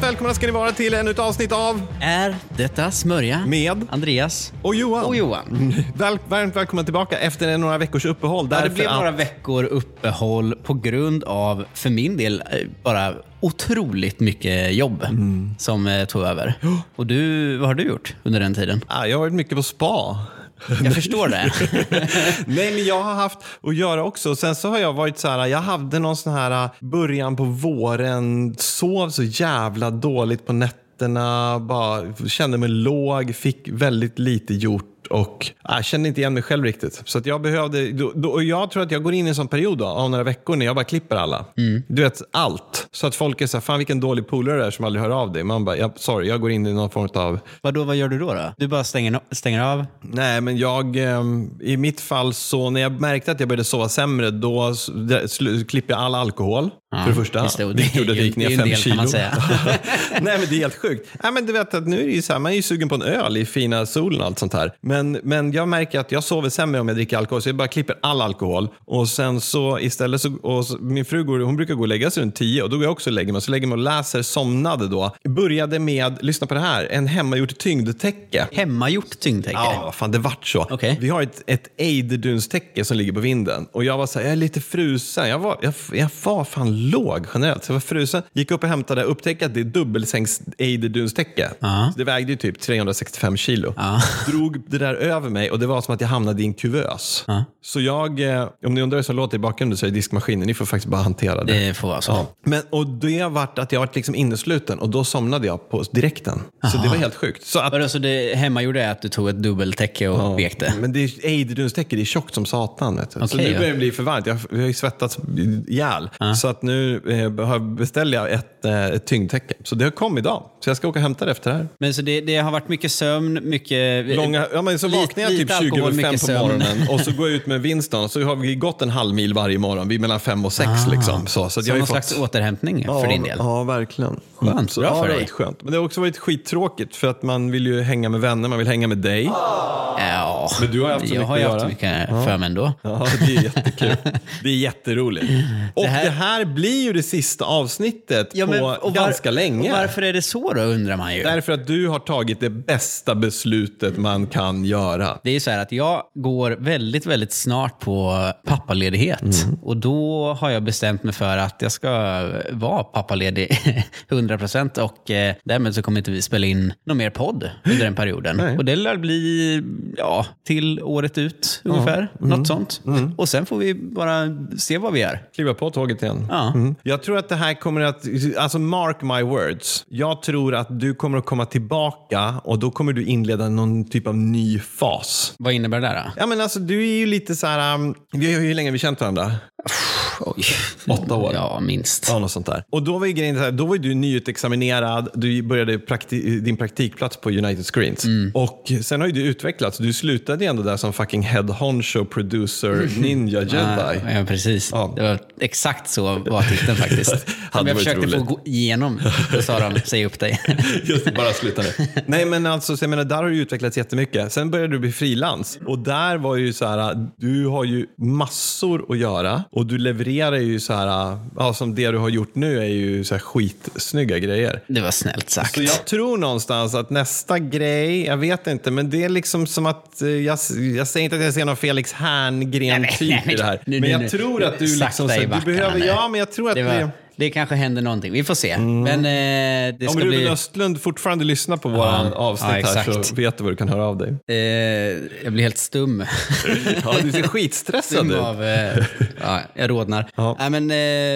välkomna ska ni vara till ännu ett avsnitt av Är detta smörja? Med Andreas? och Johan. Och Johan. Väl, varmt välkomna tillbaka efter några veckors uppehåll. Ja, det därför blev att- några veckor uppehåll på grund av, för min del, eh, bara otroligt mycket jobb Mm. som eh, tog över. Och du, vad har du gjort under den tiden? Ja, jag har varit mycket på spa. Jag förstår det. Nej, men jag har haft att göra också. Sen så har jag varit så här, jag hade någon sån här äh, början på våren, sov så jävla dåligt på nätterna, bara kände mig låg, fick väldigt lite gjort och jag kände inte igen mig själv riktigt. Så att jag behövde, då, då, och jag tror att jag går in i en sån period då, av några veckor när jag bara klipper alla. Du vet, allt. Så att folk är så här, fan vilken dålig polare det är som aldrig hör av dig. Man bara, ja, sorry, jag går in i någon form av Vadå, vad gör du då? då? Du bara stänger, no- stänger av? Nej, men jag, ehm, i mitt fall så när jag märkte att jag började sova sämre då s- där sl- klippte jag all alkohol. för det första. just det, och det gjorde att är jag gick ju- det är ner ju fem en del, kan kilo. man säga. Nej, men det är helt sjukt. Nej, men du vet att nu är det ju så här, man är ju sugen på en öl i fina solen och allt sånt här. Men, men jag märker att jag sover sämre om jag dricker alkohol så jag bara klipper all alkohol. Och sen så istället så, och så min fru går, hon brukar gå och lägga sig runt tio och då går jag också och lägger mig. Så lägger jag mig och läser, somnade då. Började med, lyssna på det här, en hemmagjort tyngdtäcke. Hemmagjort tyngdtäcke? Ja, vad fan det vart så. Okej. Vi har ett, ett ejderduns-täcke som ligger på vinden. Och jag var så här, jag är lite frusen. Jag var, jag, jag var fan låg generellt. Så jag var frusen. Gick upp och hämtade, upptäckte att det är dubbelsängs ejderduns-täcke. Så Det vägde ju typ 365 kilo. Drog det där över mig och det var som att jag hamnade i en kuvös. Så jag, eh, om ni undrar hur det låter i bakgrunden så är det diskmaskinen. Ni får faktiskt bara hantera det. Det får vara så. Men, och det vart att jag vart liksom innesluten och då somnade jag på direkten. Så det var helt sjukt. Så att, Vadå, så det hemmagjorda är att du tog ett dubbeltäcke och vek det? men det är ejderdunsdäcket, det är tjockt som satan. Vet du. så Okej, nu ja. börjar det bli för varmt. Jag, har- jag har ju svettats ihjäl. Så att nu eh, har- beställer jag ett, eh, ett tyngdtäcke. Så det kom idag. Så jag ska åka och hämta det efter det här. Men så det, det har varit mycket sömn, mycket... eh, Långa, ja, men så Lite- vaknar jag lite typ 20 alkohol, över fem mycket på sömn. morgonen och så går jag ut med Winston och så har vi gått en halv mil varje morgon. Vi är mellan fem och sex. Liksom. Så, så att Ah. Som jag har ju någon fått... slags återhämning för ja, din del? Ja, verkligen. Skönt. Så, Bra ja, för det har dig. varit skönt. Men det har också varit skittråkigt för att man vill ju hänga med vänner, man vill hänga med dig. Ja, Men du har haft så jag mycket har ju att haft göra. mycket för mig ändå. Ja, det är jättekul. Det är jätteroligt. Och det Det här, här- blir ju det sista avsnittet på och var- ganska länge. och Varför är det så då, undrar man ju. Därför att du har tagit det bästa beslutet man kan göra. Det är ju så här att jag går väldigt, väldigt snart på pappaledighet. Mm. Och då har jag bestämt mig för att jag ska vara pappaledig 100% och eh, därmed så kommer inte vi spela in någon mer podd under den perioden. Och det lär bli, ja, till året ut ungefär. Mm. Något sånt. Och sen får vi bara se vad vi gör. Kliva på tåget igen. Ja. Mm. Jag tror att det här kommer att, alltså mark my words. Jag tror att du kommer att komma tillbaka och då kommer du inleda någon typ av ny fas. Vad innebär det där då? Ja men alltså du är ju lite så här, um, vi har ju hur länge har vi känt varandra? Oj. Åtta år. Ja, minst. Ja, något sånt där. Och då var ju grejen så här, då var ju du nyutexaminerad, du började prakti- din praktikplats på United Screens. Och sen har ju du utvecklats, du slutade ju ändå där som fucking head honcho producer ninja jedi. Ja, precis. Ja. Det var exakt så var titeln faktiskt. Som varit jag försökte få roligt. gå igenom. Då sa de, säg upp dig. Just det, bara sluta nu. Nej men alltså, så jag menar, där har du utvecklats jättemycket. Sen började du bli frilans. Och där var ju så här, du har ju massor att göra. Och du levererar ju så här, ja som det du har gjort nu är ju så här skitsnygga grejer. Det var snällt sagt. Så jag tror någonstans att nästa grej, jag vet inte, men det är liksom som att, eh, jag, jag säger inte att jag ser någon Felix Nej, Herngren-typ nej, nej, i det här. men nu, nu, jag nu. tror att du Sakta liksom, så, i du backarna behöver, nu. ja men jag tror att det, det, var, det kanske händer någonting. Vi får se. Mm. Men eh, det om ska Ruben bli... Östlund fortfarande lyssnar på våra avsnitt ja, här så exakt. vet du var du kan höra av dig. Eh, jag blir helt stum. Ja, du ser skitstressad Stum ut. av, eh, ja, jag rodnar. Ja. Nej, men,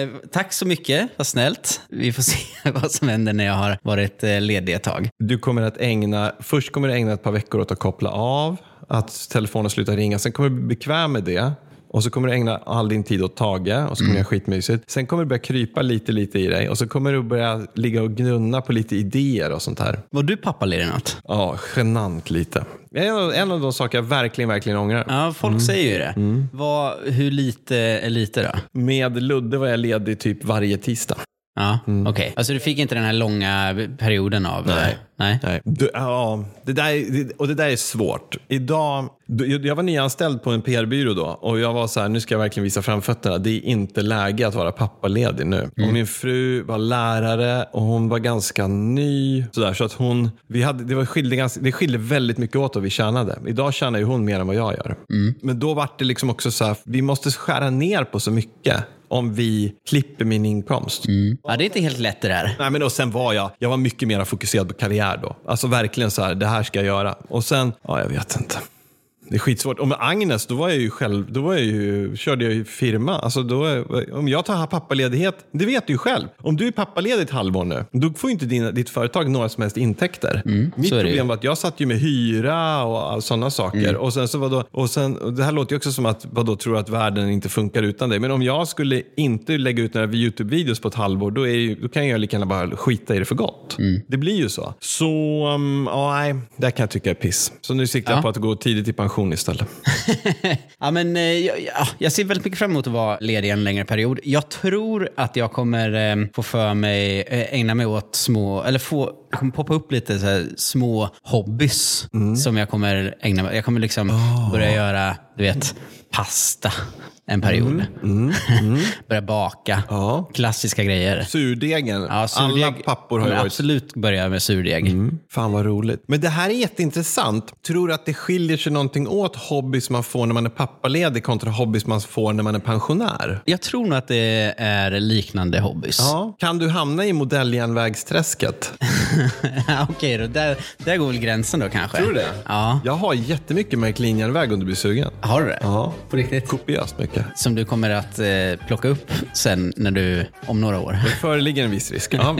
eh, tack så mycket, vad snällt. Vi får se vad som händer när jag har varit eh, ledig ett tag. Du kommer att ägna, först kommer du ägna ett par veckor åt att koppla av, att telefonen slutar ringa. Sen kommer du bli bekväm med det. Och så kommer du ägna all din tid åt Tage och så kommer du göra skitmysigt. Sen kommer du börja krypa lite, lite i dig och så kommer du börja ligga och gnunna på lite idéer och sånt här. Var du pappaledig något? Ja, genant lite. En av, en av de saker jag verkligen, verkligen ångrar. Ja, folk säger ju det. Mm. Vad, hur lite är lite då? Med Ludde var jag ledig typ varje tisdag. Ja, okej. Alltså du fick inte den här långa perioden av... Nej. Nej. Nej. Du, ja, det där, det- och det där är svårt. Idag, du- jag- jag var nyanställd på en PR-byrå då och jag var så här, nu ska jag verkligen visa framfötterna. Det är inte läge att vara pappaledig nu. Och min fru var lärare och hon var ganska ny. Så, där, så att hon, vi hade, det, var skilde ganska, det skilde väldigt mycket åt vad vi tjänade. Idag tjänar ju hon mer än vad jag gör. Men då var det liksom också så här, vi måste skära ner på så mycket om vi klipper min inkomst. Mm. Ja, det är inte helt lätt det där. Nej, men och sen var jag, jag var mycket mer fokuserad på karriär då. Alltså verkligen så här, det här ska jag göra. Och sen, ja jag vet inte. Det är skitsvårt. Och med Agnes, då var jag ju själv, då var jag ju, körde jag ju firma. Alltså då, är- om jag tar här pappaledighet, det vet du ju själv. Om du är pappaledig ett halvår nu, då får ju inte dina, ditt företag några som helst intäkter. Mitt Mm, så är det ju. problem var att jag satt ju med hyra och sådana saker. Och sen så vadå, och sen, och det här låter ju också som att, vadå, tror du att världen inte funkar utan dig? Men om jag skulle inte lägga ut några YouTube-videos på ett halvår, då, är ju, då kan jag lika gärna bara skita i det för gott. Det blir ju så. Så, um, ja, nej, där kan jag tycka är piss. Så nu siktar jag på att gå tidigt i pension istället. Ja, men, eh, jag, ja, jag ser väldigt mycket fram emot att vara ledig en längre period. Jag tror att jag kommer eh, få för mig, eh, ägna mig åt små, eller få, jag kommer poppa upp lite så här, små hobbys Mm. som jag kommer ägna mig Jag kommer liksom Ah. börja göra, du vet, pasta en period. börja baka, Mm. Ja. klassiska grejer. Surdegen. Ja, surdeg- Alla pappor har ju kommer varit Mm. absolut börja med surdeg. Fan vad roligt. Men det här är jätteintressant. Tror du att det skiljer sig någonting åt hobbys man får när man är pappaledig kontra hobbys man får när man är pensionär? Jag tror nog att det är liknande hobbys. Ja. Kan du hamna i modelljärnvägsträsket? Ja, Okej då, där, där går väl gränsen då kanske. Tror du det? Ja. Jag har jättemycket märklinjärnväg om du blir sugen. Har du det? Ja. På riktigt? Kopiöst mycket. Som du kommer att eh, plocka upp sen när du, om några år. Det föreligger en viss risk. Ja.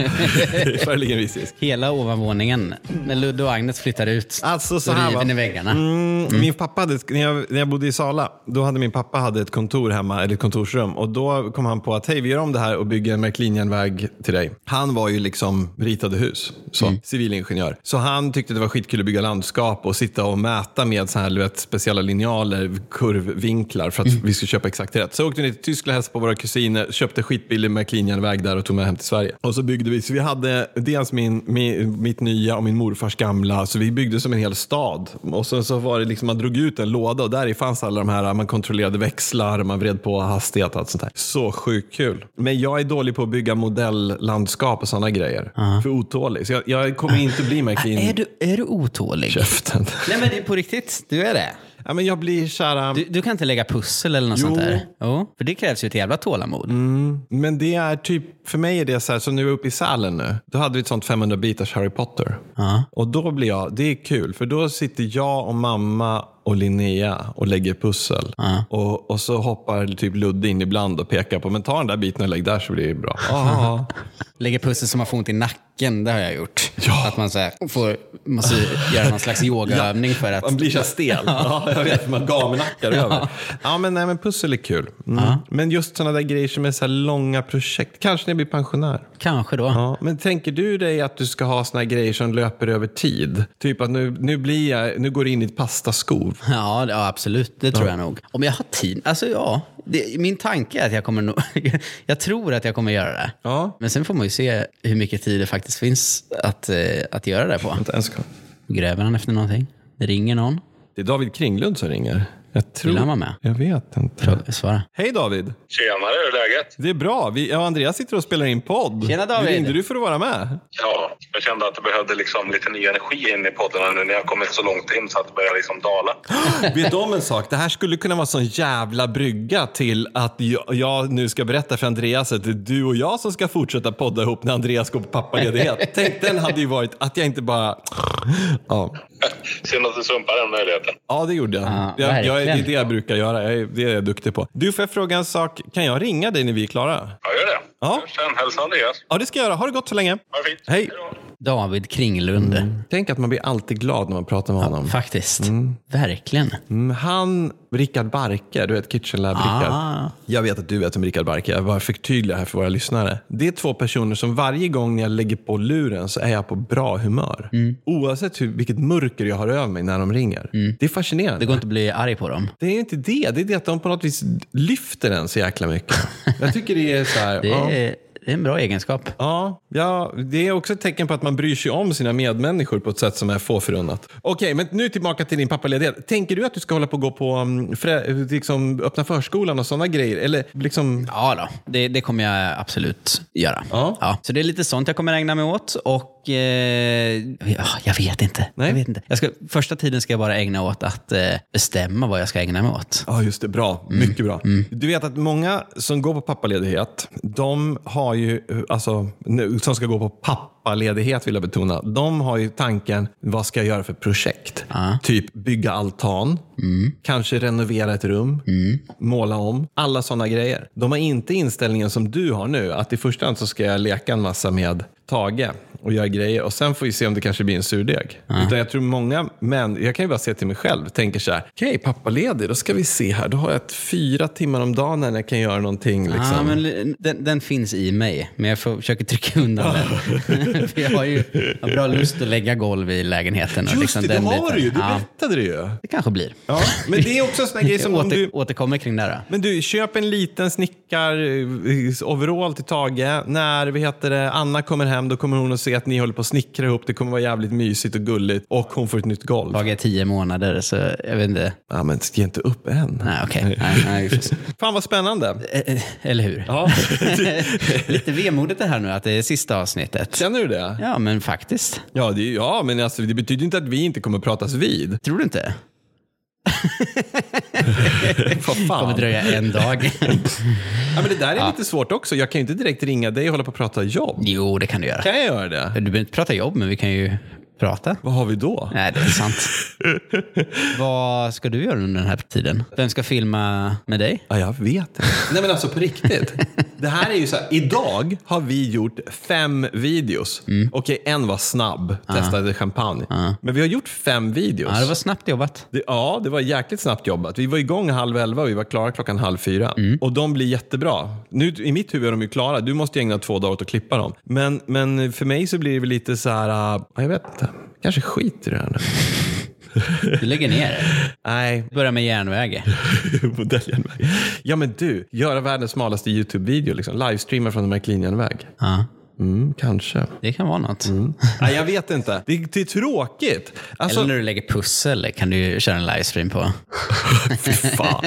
det föreligger en viss risk. Hela ovanvåningen, när Ludde och Agnes flyttar ut, Alltså, så då här, river va? ni väggarna. Mm, Min pappa hade, ett- när, jag, när jag bodde i Sala, då hade min pappa hade ett kontor hemma, eller ett kontorsrum. Och då kom han på att hej, vi gör om det här och bygger en McLean-järnväg till dig. Han var ju liksom ritade hus, så, civilingenjör. Så han tyckte det var skitkul att bygga landskap och sitta och mäta med så här, du vet, speciella linjaler, kurvvinklar för att vi skulle köpa exakt rätt. Så jag åkte ner till Tyskland och hälsade på våra kusiner, Eh, köpte skitbillig McLean-järnväg där och tog med hem till Sverige. Och så byggde vi, så vi hade dels min, min, mitt nya och min morfars gamla, så vi byggde som en hel stad. Och sen så var det liksom, man drog ut en låda och där i fanns alla de här, man kontrollerade växlar, man vred på hastighet och allt sånt där. Så sjukt kul. Men jag är dålig på att bygga modelllandskap och sådana grejer. För otålig. Så jag, jag kommer inte bli Ah, Är, McLean. du, är du otålig? Käften. Nej men det är på riktigt, du är det. Ja, men jag blir kära. Du, du kan inte lägga pussel eller något Jo. Mm. sånt där? Jo. För det krävs ju ett jävla tålamod. Men det är typ, för mig är det så här, som nu är uppe i Sälen nu. Då hade vi ett sånt 500 bitars Harry Potter. Och då blir jag, det är kul, för då sitter jag och mamma och Linnea och lägger pussel. Och, och så hoppar typ Ludde in ibland och pekar på, men ta den där biten och lägg där så blir det bra. Ja, Lägga pussel som man får ont i nacken, det har jag gjort. Ja. Att man så här, får, måste göra någon slags yogaövning för att... man blir så här stel. Ja, jag vet, man gamnackar över. Ja, men, nej, men pussel är kul. Mm. Men just sådana där grejer som är så här långa projekt, kanske när jag blir pensionär. Kanske då. Ja, men tänker du dig att du ska ha såna grejer som löper över tid? Typ att nu, nu, blir jag, nu går det in i ett pastaskov. Ja, det- ja absolut. Det tror jag nog. Om jag har tid? Alltså ja. Det, min tanke är att jag kommer nog... jag tror att jag kommer göra det. Ja. Men sen får man ju se hur mycket tid det faktiskt finns att, eh, att göra det på. Inte ens kom. Gräver han efter någonting? Ringer någon? Det är David Kringlund som ringer. Jag tror... Vill han vara med? Jag vet inte. Fråga, svara. Hej David! Tjenare, hur är läget? Det är bra. Vi, jag och Andreas sitter och spelar in podd. Tjena, David. Ringde du för att vara med? Ja, jag kände att det behövde liksom lite ny energi in i podden och nu när jag kommit så långt in så att det börjar liksom dala. Vet du om en sak? Det här skulle kunna vara sån jävla brygga till att jag, jag nu ska berätta för Andreas att det är du och jag som ska fortsätta podda ihop när Andreas går på pappaledighet. Tänk, den hade ju varit att jag inte bara... Ja. Synd att du sumpar den möjligheten. Ja, det gjorde jag. Ja, jag, jag det är verkligen. det jag brukar göra. Jag är, det är jag duktig på. Du, får jag fråga en sak? Kan jag ringa dig när vi är klara? Ja, gör det. Ja. Hörs sen. Hälsa Andreas. Ja, det ska jag göra. Ha det gott så länge. Ha det fint. Hej. då. David Kringlund. Tänk att man blir alltid glad när man pratar med honom. Faktiskt. Verkligen. Mm, Han, Rickard Barke, du vet Kitchen Lab Rickard. Ah. Jag vet att du vet om Rickard Barke. Jag bara förtydligar här för våra lyssnare. Det är två personer som varje gång när jag lägger på luren så är jag på bra humör. Mm. Oavsett hur, vilket mörker jag har över mig när de ringer. Det är fascinerande. Det går inte att bli arg på dem. Det är inte det. Det är det att de på något vis lyfter den så jäkla mycket. Jag tycker det är så här. Det ja. är, det är en bra egenskap. Ja, ja, det är också ett tecken på att man bryr sig om sina medmänniskor på ett sätt som är få förunnat. Okej, men nu tillbaka till din pappaledighet. Tänker du att du ska hålla på och gå på mm, frä, liksom, öppna förskolan och sådana grejer? Eller liksom... Ja, då. Det, det kommer jag absolut göra. Ja. så det är lite sånt jag kommer ägna mig åt. Och eh, ja, jag vet inte. Nej. Jag vet inte. Jag ska, första tiden ska jag bara ägna åt att eh, bestämma vad jag ska ägna mig åt. Ja, just det. Bra. Mycket bra. Du vet att många som går på pappaledighet, de har ju, alltså, nu- som ska gå på pappaledighet vill jag betona, de har ju tanken, vad ska jag göra för projekt? Typ bygga altan, kanske renovera ett rum, måla om, alla sådana grejer. De har inte inställningen som du har nu, att i första hand så ska jag leka en massa med Tage och göra grejer och sen får vi se om det kanske blir en surdeg. Utan jag tror många män, jag kan ju bara se till mig själv, tänker så här, okej pappaledig, då ska vi se här, då har jag ett fyra timmar om dagen när jag kan göra någonting. Liksom. Ja, men li- den, den finns i mig, men jag får, försöker trycka undan den. För jag har ju jag har bra lust att lägga golv i lägenheten. och Just liksom det, det den har biten. du ju, du Ja, berättade det ju. det kanske blir. Ja, men det är också en sån här grej som Jag om åter, du... återkommer kring det. här. Men du, köp en liten snickar-overall till Tage. När vi heter det, Anna kommer hem, då kommer hon att se att ni håller på att snickra ihop. Det kommer vara jävligt mysigt och gulligt. Och hon får ett nytt golv. Jag är tio månader, så jag vet inte. Ja, men ge inte upp än. Nej, okej. Nej, nej, vi får se. Fan vad spännande. Eh, eh, Eller hur? Ja. Lite vemodigt det här nu att det är sista avsnittet. Känner du det? Ja, men faktiskt. Ja, det, ja men alltså, det betyder inte att vi inte kommer pratas vid. Tror du inte? Vad Det kommer fan. dröja en dag. Ja, men det där är lite svårt också. Jag kan ju inte direkt ringa dig och hålla på och prata jobb. jo, det kan du göra. Kan jag göra det? Du behöver inte prata jobb, men vi kan ju prata. Vad har vi då? Nej, det är sant. Vad ska du göra under den här tiden? Vem ska filma med dig? Ja, jag vet inte. Nej men alltså på riktigt. Det här är ju så här, idag har vi gjort fem videos. Okej, en var snabb, testade champagne. Men vi har gjort fem videos. Ja, det var snabbt jobbat. Det, ja, det var jäkligt snabbt jobbat. Vi var igång halv elva och vi var klara klockan halv fyra. Och de blir jättebra. Nu, I mitt huvud är de ju klara. Du måste ju ägna två dagar åt att klippa dem. Men, men för mig så blir det väl lite så här, ah, jag vet inte. Kanske skit i det här nu. Du lägger ner det. Nej, Börja med järnvägen. modelljärnväg. Ja men du, göra världens smalaste YouTube-video. Liksom. Livestreama från en McLean-järnväg. Ja, Mm, kanske. det kan vara något. Nej, jag vet inte. Det, det är tråkigt. Alltså, Eller när du lägger pussel kan du ju köra en livestream på. fy fan.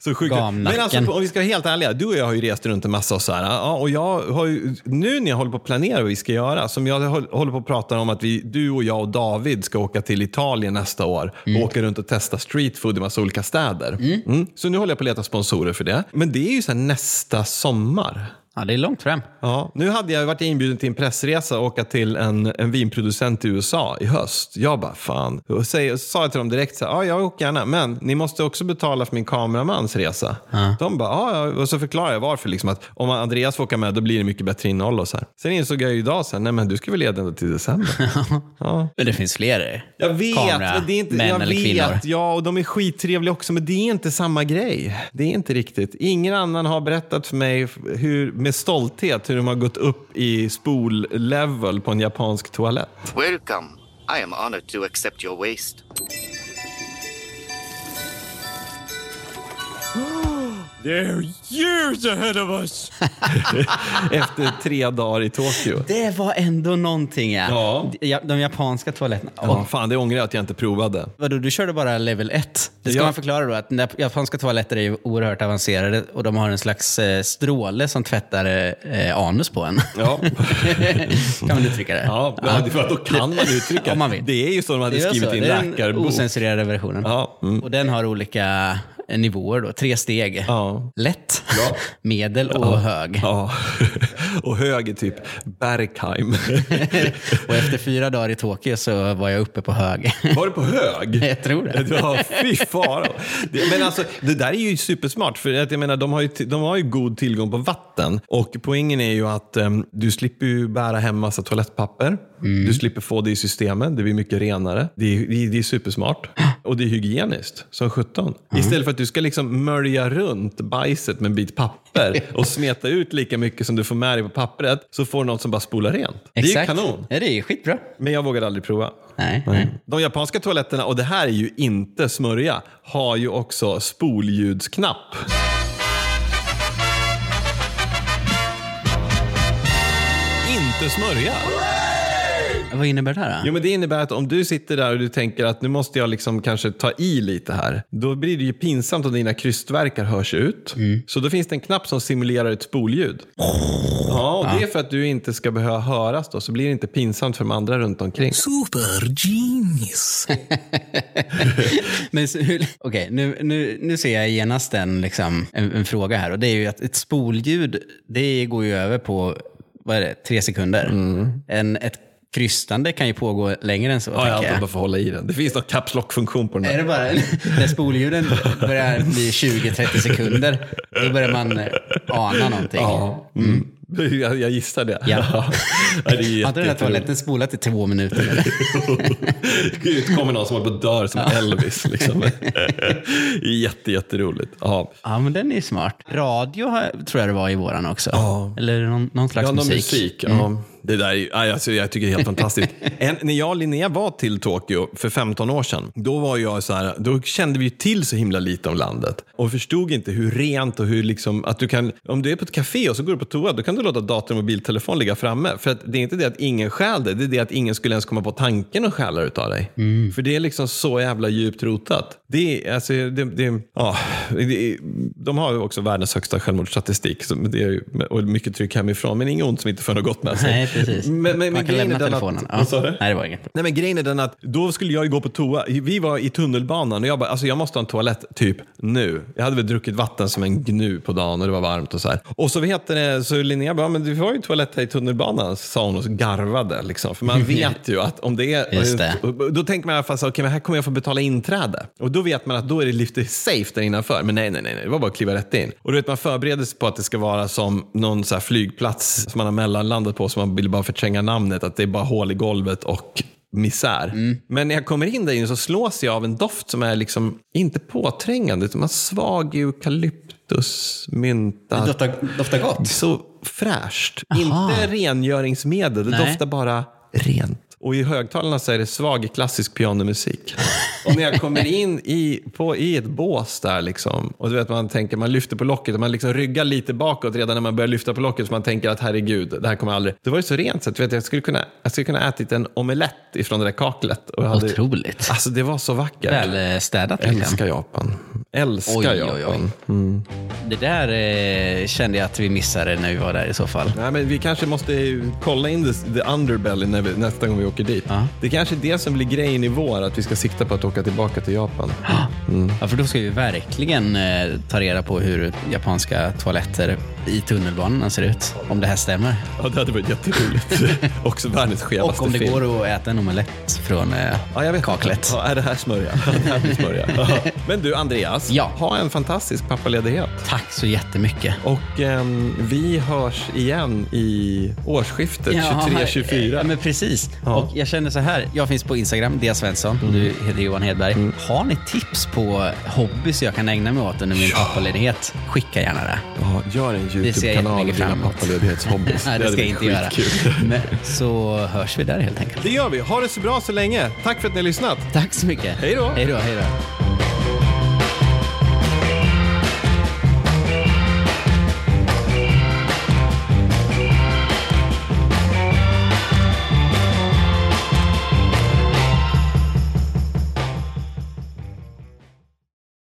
Så sjukt. Gamnacken. Men alltså, om vi ska vara helt ärliga. Du och jag har ju rest runt en massa och så här. Ja, och jag har ju, nu när jag håller på att planera vad vi ska göra. Som jag håll- håller på att prata om att vi, du och jag och David ska åka till Italien nästa år. Och åka runt och testa street food i massa olika städer. Mm. Så nu håller jag på att leta sponsorer för det. Men det är ju så här nästa sommar. Ja, det är långt fram. Ja, nu hade jag varit inbjuden till en pressresa och åka till en, en vinproducent i USA i höst. Jag bara, fan. Och säg- och så sa jag till dem direkt så här, ja, jag åker gärna, men ni måste också betala för min kameramans resa. De bara, ja, ja, och så förklarade jag varför. Liksom, att om Andreas får åka med, då blir det mycket bättre innehåll och så här. Sen insåg jag ju idag, så här, nej men du ska väl leda ända till december. ja. Men det finns fler. Jag vet, Kamera, men det är inte, män jag eller kvinnor. vet, ja, och de är skittrevliga också, men det är inte samma grej. Det är inte riktigt. Ingen annan har berättat för mig hur, med stolthet hur de har gått upp i spol-level på en japansk toalett. Welcome. I am honored to accept your waste. They're years ahead of us. Efter tre dagar i Tokyo. Det var ändå någonting ja. ja. De japanska toaletterna. Ja, fan, det ångrar jag att jag inte provade. Vadå, du körde bara level 1? Det ska Ja. man förklara då, att den där japanska toaletter är ju oerhört avancerade och de har en slags eh, stråle som tvättar eh, anus på en. Ja, kan man uttrycka det? ja, ja det var, då kan man uttrycka Om man vill. Det är ju så de Det hade är skrivit så, i en det är den läkarbok. ocensurerade versionen. Ja, mm. Och den har olika eh, nivåer då, tre steg. Ja. Lätt, medel och hög. Ja, och höger typ Bergheim. och efter fyra dagar i Tokyo så var jag uppe på hög. Var det på hög? jag tror det. Ja, fy faro. Det- Men alltså, det där är ju supersmart. För att jag menar, de, har ju, t- de har ju god tillgång på vatten. Och poängen är ju att em, du slipper ju bära hem massa toalettpapper. Mm. Du slipper få det i systemen. Det blir mycket renare. Det är, det är, det är supersmart. Och det är hygieniskt, som sjutton. Mm. Istället för att du ska liksom mölja runt bajset med en bit papper och smeta ut lika mycket som du får med dig på pappret, så får du något som bara spolar rent. Det är ju Exakt. kanon. Ja, det är ju skitbra. Men jag vågade aldrig prova. Nej, nej. Mm. De japanska toaletterna, och det här är ju inte smörja, har ju också spoljudsknapp. inte smörja. Vad innebär det här? Då? Jo, men det innebär att om du sitter där och du tänker att nu måste jag liksom kanske ta i lite här. Då blir det ju pinsamt om dina krystverkar hörs ut. Så då finns det en knapp som simulerar ett spolljud. Ja, och det är för att du inte ska behöva höras då. Så blir det inte pinsamt för de andra runt omkring. Super genius. Men så, hur, okej, nu, nu, nu ser jag genast en, liksom, en, en fråga här. Och det är ju att ett spolljud, det går ju över på vad är det, tre sekunder. En, ett krystande kan ju pågå längre än så. Mm. Ja, tänker jag jag. bara får hålla i den. Det finns någon caps lock-funktion på den Är här. det bara när spolljuden börjar bli 20-30 sekunder, då börjar man eh, ana någonting. Ja. Mm. Jag, jag gissar det. Ja. Ja, det är Har inte den här jätteroligt. toaletten spolat i två minuter? Eller? Gud, kommer någon som håller på att dör som Elvis. Liksom. Jätte, jätteroligt. Ja. Ja, men den är ju smart. Radio har- tror jag det var i våran också. Eller någon, någon slags Ja, någon musik. Mm. musik. Ja. Det där är ju, aj, alltså, jag tycker det är helt fantastiskt. En, när jag och Linnea var till Tokyo för 15 år sedan, då, var jag så här, då kände vi ju till så himla lite om landet och förstod inte hur rent och hur liksom, att du kan, om du är på ett café och så går du på toa, då kan du låta dator och mobiltelefon ligga framme. För att det är inte det att ingen stjäl det, det är det att ingen skulle ens komma på tanken att stjäla utav dig. Mm. För det är liksom så jävla djupt rotat. Det är, alltså, det, det, ja, det, de har ju också världens högsta självmordsstatistik så det är, ju- och mycket tryck hemifrån, men inget ont som inte för något gott med sig. Nej, precis. Men, men, Man men kan grejen lämna är den att... telefonen. Vad sa ja. du? Nej, det var inget. Nej men grejen är den att då skulle jag ju gå på toa. Vi var i tunnelbanan och jag bara, alltså jag måste ha en toalett typ nu. Jag hade väl druckit vatten som en gnu på dagen och det var varmt och så här. Och så vet det, så Linnea bara, men du har ju toalett här i tunnelbanan, sa hon och så garvade liksom. För man vet ju att om det är... Just det. Då tänker man i alla fall så okej men här kommer jag få betala inträde. Och då vet man att då är det lite safe där innanför. Men nej, nej, nej, nej. det var bara att kliva rätt in. Och du vet, man förbereder sig på att det ska vara som någon så här flygplats som man har mellanlandat på, som man vill bara förtränga namnet, att det är bara hål i golvet och misär. Mm. Men när jag kommer in där inne så slås jag av en doft som är liksom inte påträngande, utan man svag eukalyptus, mynta. Doftar, doftar gott. Så fräscht. Aha. Inte rengöringsmedel, det Nej. doftar bara rent. Och i högtalarna så är det svag klassisk pianomusik. Och när jag kommer in i, på, i ett bås där liksom, och du vet man tänker, man lyfter på locket och man liksom ryggar lite bakåt redan när man börjar lyfta på locket så man tänker att herregud, det här kommer aldrig... Det var ju så rent så att du vet, jag skulle kunna, jag skulle kunna ätit en omelett ifrån det där kaklet. Och jag hade, Otroligt. Alltså det var så vackert. Välstädat. Liksom. Älskar Japan. Älskar Oj, oj, Japan. oj. Det där eh, kände jag att vi missade när vi var där i så fall. Nej, men vi kanske måste ju kolla in the, the underbelly när vi, nästa gång vi åker dit. Ja. Det kanske är det som blir grejen i vår, att vi ska sikta på att åka tillbaka till Japan. Ja, för då ska vi verkligen eh, ta reda på hur japanska toaletter i tunnelbanan ser ut. Om det här stämmer. Ja, det hade varit jätteroligt. Också världens Och skevaste om det film. går att äta en omelett från eh, Ja, jag vet. kaklet. Ja, är det här smörja? Ja, det här blir smörja. Ja. Men du, Andreas. Ja. Ha en fantastisk pappaledighet. Tack så jättemycket. Och ehm, vi hörs igen i årsskiftet Ja, Ja, 23-24. men precis. Ja. Och jag känner så här, jag finns på Instagram, Dia Svensson, du heter Johan Hedberg. Mm. Har ni tips på hobbys jag kan ägna mig åt under min pappaledighet? Skicka gärna det. Ja, gör en ser jag YouTube-kanal om jättemycket dina fram emot. pappaledighetshobbies. Nej, det, hade ska jag varit inte göra. skitkul. Men, så hörs vi där helt enkelt. Det gör vi. Ha det så bra så länge. Tack för att ni har lyssnat. Tack så mycket. Hej då. Hej då, hej då.